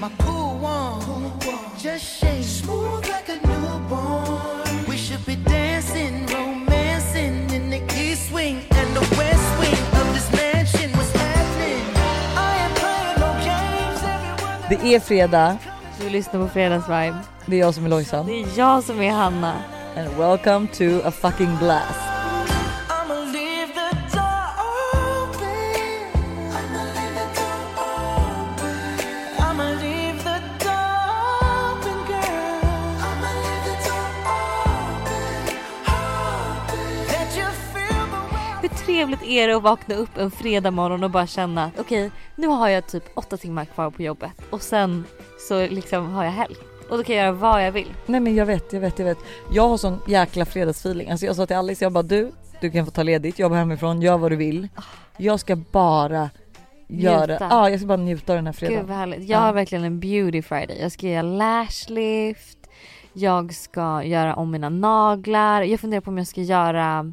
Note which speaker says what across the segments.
Speaker 1: My cool one, just shake smooth like a newborn. We should be dancing, romancing in the east wing and the west wing of this mansion. What's happening? I am playing no games. Everyone that
Speaker 2: Det är fredag,
Speaker 3: Du lyssnar på Fredagsvibe.
Speaker 2: det är jag som är Lojsan.
Speaker 3: Det är jag som är Hanna.
Speaker 2: And welcome to a fucking blast.
Speaker 1: I'ma leave the door open. I'ma leave the door open. I'ma leave the door open, girl. I'ma leave the door open, open. That you feel the way I
Speaker 3: Hur trevligt är det att vakna upp en fredag morgon och bara känna att okej, nu har jag typ åtta timmar kvar på jobbet och sen så liksom har jag helg. Och då kan jag göra vad jag vill.
Speaker 2: Nej men jag vet, jag vet, jag vet. Jag har sån jäkla fredagsfeeling. Alltså jag sa till Alice, jag bara du, du kan få ta ledigt, jobba hemifrån, gör vad du vill. Jag ska bara göra,
Speaker 3: Njuta.
Speaker 2: ja jag ska bara njuta av den här
Speaker 3: Gud
Speaker 2: fredagen.
Speaker 3: vad härligt. Jag har verkligen en beauty friday. Jag ska göra lashlift. Jag ska göra om mina naglar. Jag funderar på om jag ska göra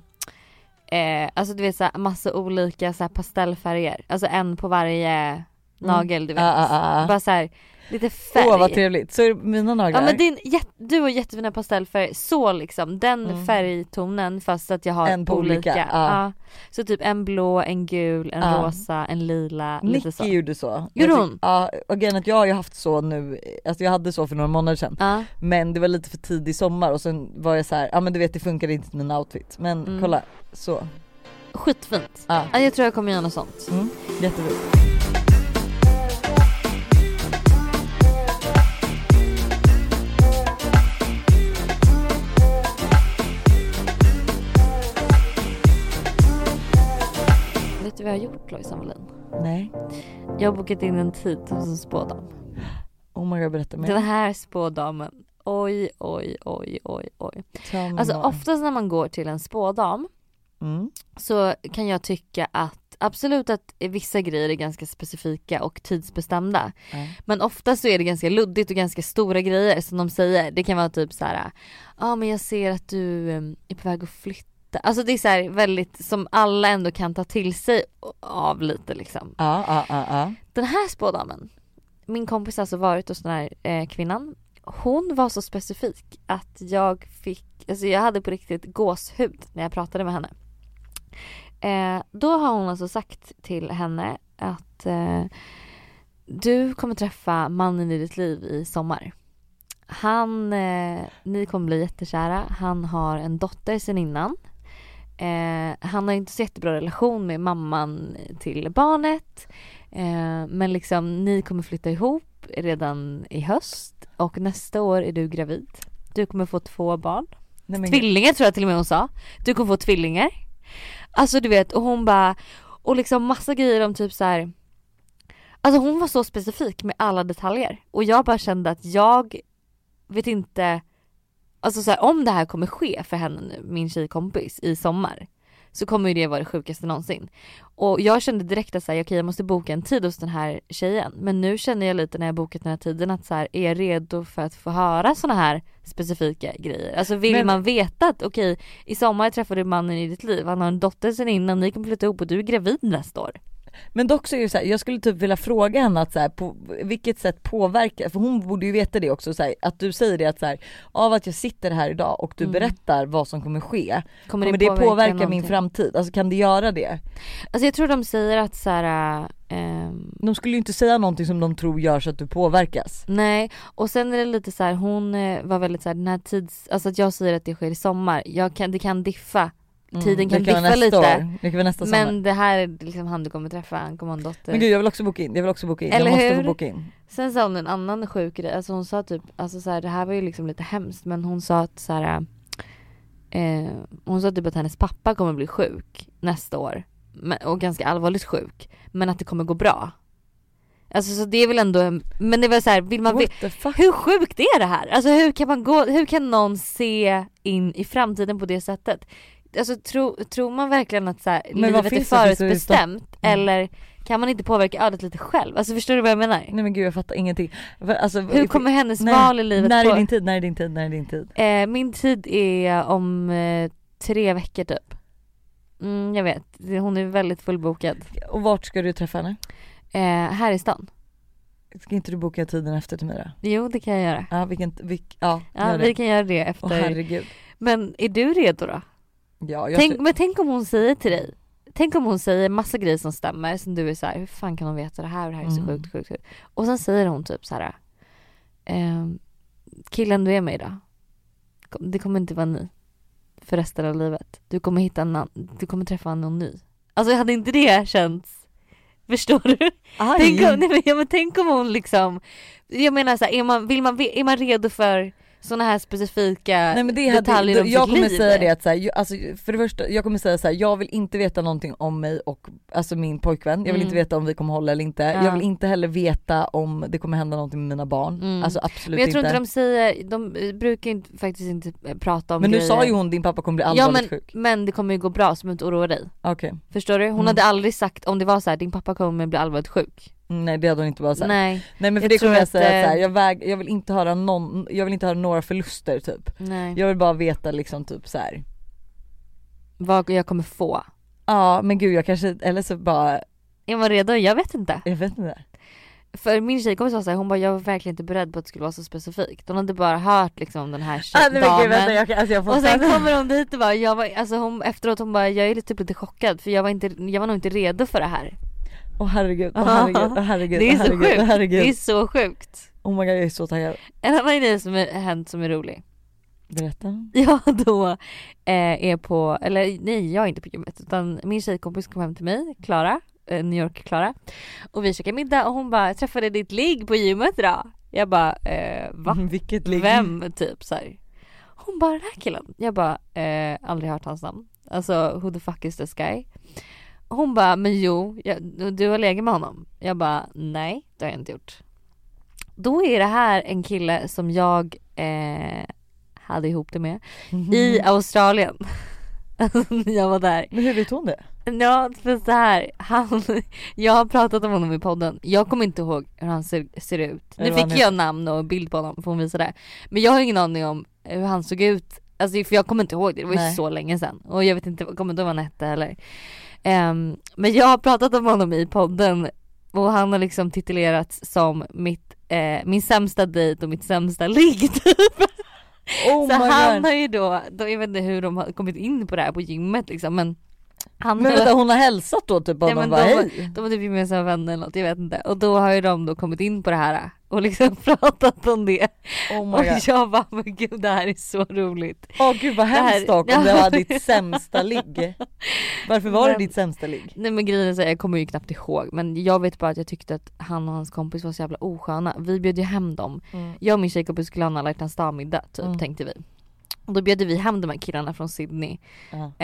Speaker 3: eh, alltså du vet så här, massa olika så här pastellfärger. Alltså en på varje nagel du vet.
Speaker 2: Ah, ah, ah.
Speaker 3: Bara så här, lite färg.
Speaker 2: Åh vad trevligt. Så är det mina naglar?
Speaker 3: Ja men din, jätt- du har jättefina pastellfärger, så liksom den färgtonen fast att jag har
Speaker 2: Mm. En på olika, ja.
Speaker 3: Så typ en blå, en gul, en
Speaker 2: Ja.
Speaker 3: rosa, en lila, lite
Speaker 2: Nicky
Speaker 3: så.
Speaker 2: gjorde så.
Speaker 3: Gjorde
Speaker 2: Jag tyck-
Speaker 3: hon?
Speaker 2: Ja, och grejen är att jag har ju haft så nu, alltså jag hade så för några månader sedan.
Speaker 3: Ja.
Speaker 2: Men det var lite för tidig sommar och sen var jag så här, ja men du vet det funkade inte till min outfit. Men
Speaker 3: Mm.
Speaker 2: kolla, så.
Speaker 3: Skitfint.
Speaker 2: Ja.
Speaker 3: Ja, jag tror jag kommer göra något sånt.
Speaker 2: Mm. Jättefint.
Speaker 3: Vet du vad jag har gjort Lojsan Wallin?
Speaker 2: Nej.
Speaker 3: Jag har bokat in en tid hos en spådam.
Speaker 2: Oh my god berätta mer.
Speaker 3: Den här spådamen, oj oj oj oj oj.
Speaker 2: Tell me
Speaker 3: Alltså
Speaker 2: more.
Speaker 3: oftast när man går till en spådam
Speaker 2: Mm.
Speaker 3: så kan jag tycka att absolut att vissa grejer är ganska specifika och tidsbestämda.
Speaker 2: Ja.
Speaker 3: Men ofta så är det ganska luddigt och ganska stora grejer som de säger. Det kan vara typ så här, ja men jag ser att du eh, är på väg att flytta. Alltså det är så här väldigt som alla ändå kan ta till sig av lite liksom.
Speaker 2: Ja, ja, ja, ja.
Speaker 3: Den här spådamen, min kompis har alltså varit hos den här eh, kvinnan. Hon var så specifik att jag fick, alltså jag hade på riktigt gåshud när jag pratade med henne. Eh, då har hon alltså sagt till henne att eh, du kommer träffa mannen i ditt liv i sommar. Han, eh, ni kommer bli jättekära. Han har en dotter sen innan. Eh, han har inte så jättebra relation med mamman till barnet. Eh, men liksom ni kommer flytta ihop redan i höst och nästa år är du gravid. Du kommer få två barn.
Speaker 2: Nej, men,
Speaker 3: Tvillingar tror jag till och med hon sa. Du kommer få tvillingar. Alltså du vet och hon bara och liksom massa grejer om typ så här. Alltså hon var så specifik med alla detaljer och jag bara kände att jag vet inte alltså så här, om det här kommer ske för henne nu, min tjejkompis i sommar så kommer ju det vara det sjukaste någonsin. Och jag kände direkt att så här, okej jag måste boka en tid hos den här tjejen. Men nu känner jag lite när jag bokat den här tiden att så här, är jag redo för att få höra sådana här specifika grejer? Alltså vill
Speaker 2: Men-
Speaker 3: man veta att okej i sommar träffar du mannen i ditt liv, han har en dotter sen innan, ni kommer flytta ihop och du är gravid nästa år.
Speaker 2: men dock så är det så här, jag skulle typ vilja fråga henne att så här, på vilket sätt påverkar, för hon borde ju veta det också, så här, att du säger det att så här, av att jag sitter här idag och du
Speaker 3: Mm.
Speaker 2: berättar vad som kommer ske,
Speaker 3: Kommer,
Speaker 2: kommer det påverka, min
Speaker 3: någonting?
Speaker 2: framtid? Alltså kan det göra det?
Speaker 3: Alltså jag tror de säger att så här, ehm,
Speaker 2: De skulle ju inte säga någonting som de tror gör så att du påverkas.
Speaker 3: Nej, och sen är det lite så här, hon eh, var väldigt så här, den här tids, alltså att jag säger att det sker i sommar, jag kan, det kan diffa, Mm. tiden kan,
Speaker 2: Mm, det kan vara
Speaker 3: diffa
Speaker 2: nästa
Speaker 3: lite.
Speaker 2: År. Det kan vara nästa sommar.
Speaker 3: Men det här är liksom han du kommer träffa, han kommer ha en dotter.
Speaker 2: Men gud jag vill också boka in, jag vill också boka in.
Speaker 3: Eller
Speaker 2: jag måste
Speaker 3: hur?
Speaker 2: få boka in.
Speaker 3: Sen sa hon en annan sjuk grej, alltså hon sa typ, alltså så här, det här var ju liksom lite hemskt men hon sa att så här, eh, hon sa typ att hennes pappa kommer bli sjuk nästa år. Men, och ganska allvarligt sjuk. Men att det kommer gå bra. Alltså så det är väl ändå, en- men det var så här, vill man,
Speaker 2: What the fuck?
Speaker 3: Hur sjukt är det här? Alltså hur kan man gå, hur kan någon se in i framtiden på det sättet? Alltså tro, tror man verkligen att så här,
Speaker 2: vad
Speaker 3: livet är
Speaker 2: finns det för Mm.
Speaker 3: förutbestämt eller kan man inte påverka ödet lite själv? Alltså förstår du vad jag menar?
Speaker 2: Nej men gud jag fattar ingenting. Va- Alltså,
Speaker 3: Hur kommer hennes
Speaker 2: när,
Speaker 3: val i livet
Speaker 2: När
Speaker 3: på?
Speaker 2: är din tid, när är din tid, när är din tid?
Speaker 3: eh, min tid är om eh, tre veckor typ. Mm, jag vet, Det- hon är väldigt fullbokad.
Speaker 2: Och vart ska du träffa henne?
Speaker 3: Eh, här i stan.
Speaker 2: Ska inte du boka tiden efter till mig då?
Speaker 3: Jo det kan jag göra.
Speaker 2: Ja, vilken, vilk, ja,
Speaker 3: Ja
Speaker 2: gör
Speaker 3: vi
Speaker 2: det.
Speaker 3: kan göra det
Speaker 2: Åh
Speaker 3: efter.
Speaker 2: herregud.
Speaker 3: men är du redo då?
Speaker 2: Ja, jag
Speaker 3: Tänk,
Speaker 2: ser-
Speaker 3: men tänk om hon säger till dig. Tänk om hon säger massa grejer som stämmer som du är så här, hur fan kan hon veta det här och det här är så
Speaker 2: Mm.
Speaker 3: sjukt, sjukt, sjukt. Och sen säger hon typ så här. Ehm, killen du är med idag. kom- Det kommer inte vara ni. För resten av livet. Du kommer hitta en annan, du kommer träffa någon ny. Alltså hade inte det känts, förstår du?
Speaker 2: Aj.
Speaker 3: Tänk om, nej, men, ja, men tänk om hon liksom, jag menar så här, är, man, vill man, ve- är man redo för sådana här specifika
Speaker 2: Nej men det hade,
Speaker 3: detaljer om
Speaker 2: jag
Speaker 3: sitt
Speaker 2: kommer
Speaker 3: liv?
Speaker 2: säga det att så här, ju- alltså, för det första, jag kommer säga så här, jag vill inte veta någonting om mig och alltså min pojkvän, jag vill
Speaker 3: Mm.
Speaker 2: inte veta om vi kommer hålla eller inte,
Speaker 3: Ja.
Speaker 2: jag vill inte heller veta om det kommer hända någonting med mina barn,
Speaker 3: Mm.
Speaker 2: alltså absolut
Speaker 3: Men jag tror
Speaker 2: inte.
Speaker 3: inte de säger, de eh, brukar ju inte, faktiskt inte eh, prata om
Speaker 2: men nu
Speaker 3: grejer.
Speaker 2: sa ju hon din pappa kommer bli allvarligt
Speaker 3: ja, men,
Speaker 2: sjuk.
Speaker 3: men det kommer ju gå bra så du behöver inte oroa dig.
Speaker 2: Okej,
Speaker 3: Förstår du? Hon
Speaker 2: Mm.
Speaker 3: hade aldrig sagt om det var så här, din pappa kommer bli allvarligt sjuk. Alltså,
Speaker 2: Mm, nej det hade hon inte bara sagt. Nej,
Speaker 3: Nej,
Speaker 2: men för
Speaker 3: jag
Speaker 2: det kommer
Speaker 3: tror
Speaker 2: jag
Speaker 3: att,
Speaker 2: säga att, så här,
Speaker 3: eh,
Speaker 2: jag, väg, jag vill inte höra någon, jag vill inte höra några förluster typ.
Speaker 3: nej.
Speaker 2: Jag vill bara veta liksom typ så här.
Speaker 3: Vad jag kommer få.
Speaker 2: ja men gud jag kanske, eller så bara,
Speaker 3: Är man redo? Jag vet inte.
Speaker 2: jag vet inte.
Speaker 3: För min tjejkompis sa såhär, hon bara jag var verkligen inte beredd på att det skulle vara så specifikt. Hon hade bara hört liksom om den här tjej,
Speaker 2: Ah, nej, men gud, vänta,
Speaker 3: damen.
Speaker 2: jag, kan- alltså, jag får
Speaker 3: Och sen
Speaker 2: panik.
Speaker 3: kommer hon dit och bara, jag var, alltså hon, efteråt hon bara jag är typ lite chockad för jag var, inte, jag var nog inte redo för det här.
Speaker 2: Åh herregud, åh herregud, åh herregud,
Speaker 3: Det är
Speaker 2: åh,
Speaker 3: så
Speaker 2: herregud,
Speaker 3: sjukt.
Speaker 2: åh, herregud.
Speaker 3: Det är så sjukt.
Speaker 2: Oh my god jag är så taggad.
Speaker 3: En annan grej som har hänt som är rolig.
Speaker 2: Berätta.
Speaker 3: Jag då eh, är på, eller nej jag är inte på gymmet utan min tjejkompis kom hem till mig, Klara, eh, New York-Klara. Och vi käkade middag och hon bara jag träffade ditt ligg på gymmet idag. Jag bara eh, va?
Speaker 2: Vilket ligg.
Speaker 3: Vem? Typ så här. Hon bara den här killen. Jag bara eh, aldrig hört hans namn. Alltså who the fuck is this guy? Hon bara men jo, jag, du har legat med honom. Jag bara nej det har jag inte gjort. Då är det här en kille som jag eh, hade ihop det med i Australien. Alltså, jag var där.
Speaker 2: Men hur vet hon det?
Speaker 3: Ja för så här, han, jag har pratat om honom i podden. Jag kommer inte ihåg hur han ser, ser ut.
Speaker 2: Eller
Speaker 3: Nu
Speaker 2: vad han
Speaker 3: fick
Speaker 2: heter.
Speaker 3: jag namn och bild på honom för hon visade det. Men jag har ingen aning om hur han såg ut. Alltså för jag kommer inte ihåg det, det var ju
Speaker 2: Nej.
Speaker 3: så länge sedan. Och jag vet inte, jag kommer inte ihåg vad han hette heller. Ehm, men jag har pratat om honom i podden och han har liksom titulerats som mitt, eh, min sämsta dejt och mitt sämsta ligg typ.
Speaker 2: Oh
Speaker 3: Så
Speaker 2: my
Speaker 3: han
Speaker 2: god.
Speaker 3: har ju då, då, jag vet inte hur de har kommit in på det här på gymmet liksom men han
Speaker 2: Men vänta hon har hälsat då typ
Speaker 3: Nej,
Speaker 2: honom
Speaker 3: men
Speaker 2: bara
Speaker 3: de-
Speaker 2: hej.
Speaker 3: de har typ gemensamma vänner eller något, jag vet inte. Och då har ju de då kommit in på det här och liksom pratat om det.
Speaker 2: Oh
Speaker 3: och
Speaker 2: my god.
Speaker 3: jag bara, men gud det här är så roligt.
Speaker 2: Åh gud vad
Speaker 3: här-
Speaker 2: hemskt dock om det var ditt sämsta ligg. Varför var det
Speaker 3: Men-
Speaker 2: ditt sämsta ligg?
Speaker 3: Nej men grejen är så här, jag kommer ju knappt ihåg men jag vet bara att jag tyckte att han och hans kompis var så jävla osköna. Vi bjöd ju hem dem. Jag och min tjejkompis skulle ha en alla hjärtans dag-middag typ
Speaker 2: Mm.
Speaker 3: tänkte vi. Och då bjöd vi hem de här killarna från Sydney.
Speaker 2: Ja.
Speaker 3: Eh,
Speaker 2: Det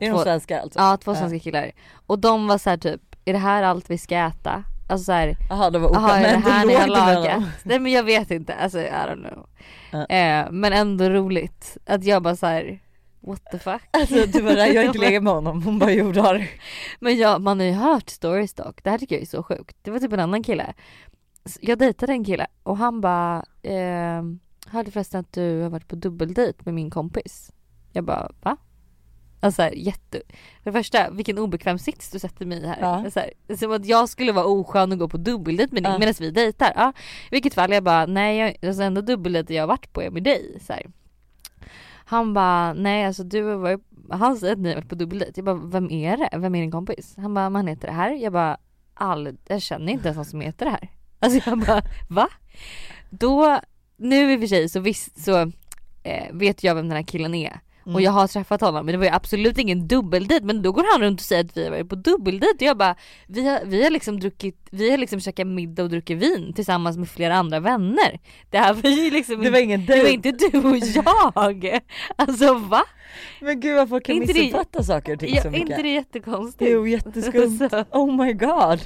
Speaker 2: är
Speaker 3: två-
Speaker 2: de svenskar alltså?
Speaker 3: Ja två
Speaker 2: Ja.
Speaker 3: svenska killar. Och de var så här typ, är det här allt vi ska äta? Alltså så här,
Speaker 2: Jaha det var oklart.
Speaker 3: Jaha, är det här
Speaker 2: du
Speaker 3: ni har
Speaker 2: låg med
Speaker 3: lagat?
Speaker 2: honom.
Speaker 3: Nej men jag vet inte, alltså I don't know.
Speaker 2: Ja.
Speaker 3: Eh, men ändå roligt att jag bara så här. what the fuck.
Speaker 2: Alltså du bara, jag har inte legat med honom. Hon bara jo det har du.
Speaker 3: Men jag, man har ju hört stories dock, det här tycker jag är så sjukt. Det var typ en annan kille. S- Jag dejtade en kille och han bara, ehm, hörde förresten att du har varit på dubbeldejt med min kompis. Jag bara va? Alltså här, jätte... För det första, vilken obekväm sits du sätter mig i här.
Speaker 2: Ja.
Speaker 3: Så här. Som att jag skulle vara oskön och gå på dubbeldejt med dig
Speaker 2: Ja.
Speaker 3: medan vi dejtar. Ja. I vilket fall jag bara, nej jag, alltså enda dubbeldejten jag har varit på är med dig. Så här. Han bara, nej alltså du har varit, han säger att ni har varit på dubbeldejt. Jag bara, vem är det? Vem är din kompis? Han bara, man heter det här. Jag bara, all, jag känner inte ens någon som heter det här. Alltså jag bara, va? Då, nu i och för sig så visst så eh, vet jag vem den här killen är. Och
Speaker 2: Mm.
Speaker 3: jag har träffat honom men det var ju absolut ingen dubbeldejt men då går han runt och säger att vi har varit på dubbeldejt och jag bara vi har, vi har liksom druckit, vi har liksom käkat middag och druckit vin tillsammans med flera andra vänner. Det här var ju liksom
Speaker 2: Det var ingen
Speaker 3: det var
Speaker 2: dejt.
Speaker 3: inte du och jag! Alltså va?
Speaker 2: Men gud varför kan
Speaker 3: Inte det-
Speaker 2: missuppfatta saker och ting
Speaker 3: Ja,
Speaker 2: så
Speaker 3: är inte
Speaker 2: mycket?
Speaker 3: det jättekonstigt?
Speaker 2: Jo jätteskumt.
Speaker 3: Så,
Speaker 2: Oh my god.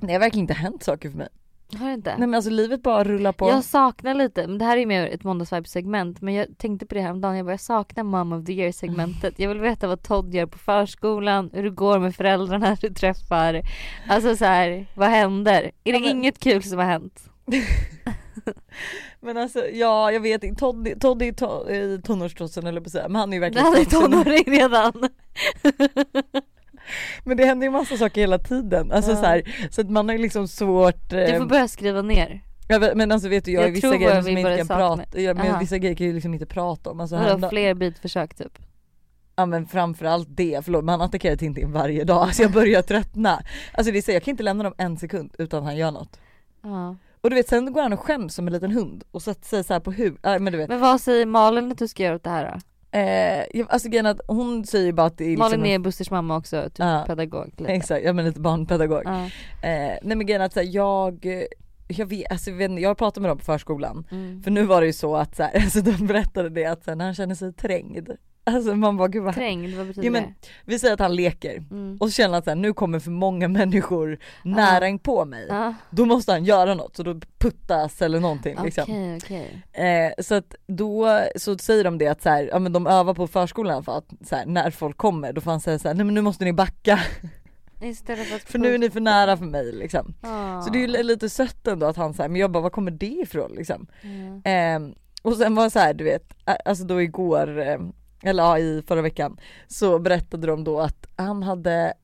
Speaker 2: Det har verkligen inte hänt saker för mig.
Speaker 3: har du inte?
Speaker 2: Nej men alltså livet bara rullar på.
Speaker 3: Jag saknar lite, men det här är mer ett måndagsvibe-segment men jag tänkte på det här om dagen. jag bara jag saknar mom of the year-segmentet. Jag vill veta vad Todd gör på förskolan, hur det går med föräldrarna du träffar. Alltså så här, vad händer? Är
Speaker 2: Ja,
Speaker 3: det
Speaker 2: men-
Speaker 3: inget kul som har hänt?
Speaker 2: Men alltså ja jag vet inte, Todd, Todd är to, eh, tonårstrossen eller på att säga men han är ju
Speaker 3: Det
Speaker 2: verkligen
Speaker 3: hade
Speaker 2: trossen.
Speaker 3: tonåring redan.
Speaker 2: Men det händer ju massa saker hela tiden. Alltså
Speaker 3: Ja.
Speaker 2: så, här, så att man har ju liksom svårt.
Speaker 3: Du
Speaker 2: Eh,
Speaker 3: får börja skriva ner.
Speaker 2: jag vet- men alltså vet du jag,
Speaker 3: Jag
Speaker 2: är vissa
Speaker 3: tror
Speaker 2: grejer
Speaker 3: att
Speaker 2: som
Speaker 3: vi
Speaker 2: jag inte kan
Speaker 3: börjar sakna-
Speaker 2: prata, jag, men
Speaker 3: Aha.
Speaker 2: vissa grejer kan jag ju liksom inte prata om. Alltså,
Speaker 3: Vadå
Speaker 2: häromdagen-
Speaker 3: fler bitförsök typ?
Speaker 2: Ja men framförallt det, förlåt men han attackerar Tintin varje dag, alltså jag börjar tröttna. Alltså det är så, jag kan inte lämna dem en sekund utan han gör något.
Speaker 3: Ja.
Speaker 2: Och du vet sen går han och skäms som en liten hund och sätter sig så här på huvudet, äh, men du vet.
Speaker 3: Men vad säger Malin att du ska göra åt det här då?
Speaker 2: Eh, jag- alltså grejen är att hon säger ju bara att det är liksom
Speaker 3: Malin
Speaker 2: en-
Speaker 3: är Busters mamma också, typ
Speaker 2: Ja.
Speaker 3: pedagog lite.
Speaker 2: Exakt, ja men lite barnpedagog.
Speaker 3: Ja.
Speaker 2: Eh, nej men grejen är att så här, jag, eh, jag vet, alltså jag, vet, inte, jag pratade med dem på förskolan.
Speaker 3: Mm.
Speaker 2: För nu var det ju så att så här, alltså de berättade det att så här, när han känner sig trängd. Alltså man bara gud vad,
Speaker 3: Trängd, vad betyder
Speaker 2: Jo, men- vi säger att han leker.
Speaker 3: det? Mm.
Speaker 2: Och så känner han att nu kommer för många människor nära in på mig.
Speaker 3: Ja,
Speaker 2: Då måste han göra något, så då puttas eller någonting
Speaker 3: Okej
Speaker 2: liksom.
Speaker 3: okej.
Speaker 2: Eh, så att då så säger de det att så här, ja, men de övar på förskolan för att så här, när folk kommer då får han säga så här, nej men nu måste ni backa
Speaker 3: Istället för att
Speaker 2: för nu är ni för nära för mig liksom.
Speaker 3: Ja.
Speaker 2: Så det är ju lite sött ändå att han säger, men jag bara var kommer det ifrån liksom?
Speaker 3: Ja.
Speaker 2: Ehm, och sen var det så här, du vet, ä- alltså då igår, eh, eller ja, i förra veckan, så berättade de då att han hade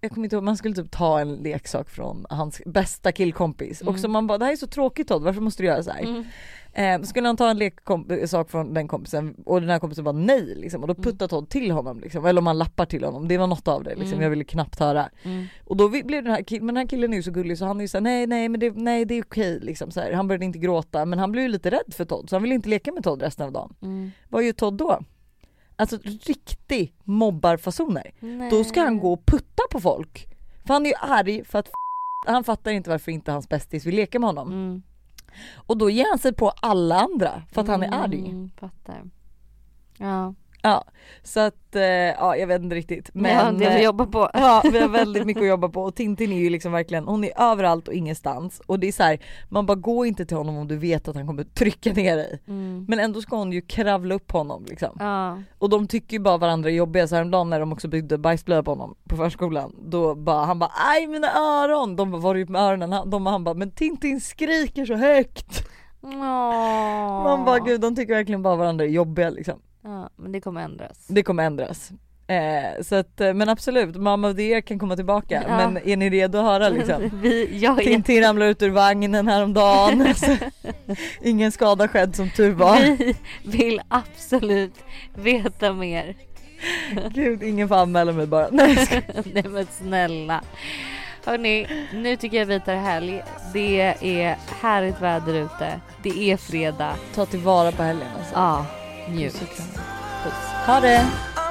Speaker 2: jag kommer inte ihåg, man skulle typ ta en leksak från hans bästa killkompis. Och så man bara, det här är så tråkigt Todd, varför måste du göra så här?
Speaker 3: Mm.
Speaker 2: Eh, skulle han ta en leksak från den kompisen och den här kompisen bara nej liksom och då puttar Todd till honom liksom, eller om han lappar till honom, det var något av det liksom, jag ville knappt höra.
Speaker 3: Mm.
Speaker 2: Och då vi- blev den här killen, men den här killen är ju så gullig så han är ju såhär nej nej men det, nej, det är okej liksom så här. han började inte gråta men han blev ju lite rädd för Todd så han ville inte leka med Todd resten av dagen.
Speaker 3: Mm.
Speaker 2: Vad gör Todd då? Alltså riktig mobbarfasoner.
Speaker 3: Nej.
Speaker 2: Då ska han gå och putta på folk. För han är ju arg för att f- han fattar inte varför inte hans bästis vill leka med honom.
Speaker 3: Mm.
Speaker 2: Och då ger han sig på alla andra för att han är arg.
Speaker 3: Mm, fattar. Ja,
Speaker 2: Ja, så att eh, ja, jag vet inte riktigt. Men
Speaker 3: men, ja det
Speaker 2: eh,
Speaker 3: vi jobbar på.
Speaker 2: ja, vi har väldigt mycket att jobba på och Tintin är ju liksom verkligen, hon är överallt och ingenstans och det är så här, man bara gå inte till honom om du vet att han kommer trycka ner dig.
Speaker 3: Mm.
Speaker 2: Men ändå ska hon ju kravla upp på honom liksom.
Speaker 3: Ja.
Speaker 2: Och de tycker ju bara varandra är jobbiga, så häromdagen när de också byggde bajsblöja på honom på förskolan, då bara han bara aj mina öron! De bara var är det med öronen? Han- De, han bara men Tintin skriker så högt!
Speaker 3: Åh.
Speaker 2: Man bara gud de tycker verkligen bara varandra är jobbiga liksom.
Speaker 3: Ja, men det kommer ändras.
Speaker 2: Det kommer ändras. Eh, så att, eh, men absolut, Mamma och det kan komma tillbaka.
Speaker 3: Ja.
Speaker 2: Men är ni redo att höra liksom?
Speaker 3: vi, jag är
Speaker 2: Tintin ramlar ut ur vagnen häromdagen. alltså, ingen skada skedd som tur var.
Speaker 3: Vi vill absolut veta mer.
Speaker 2: Gud, ingen får anmäla mig bara. Nej, jag skojar.
Speaker 3: Nej men snälla. Hörni, nu tycker jag vi tar helg. Det är härligt väder ute. Det är fredag.
Speaker 2: Ta tillvara på helgen alltså.
Speaker 3: Ja,
Speaker 2: Puss
Speaker 3: njut.
Speaker 2: och kram. Puss. Ha det!
Speaker 1: Oh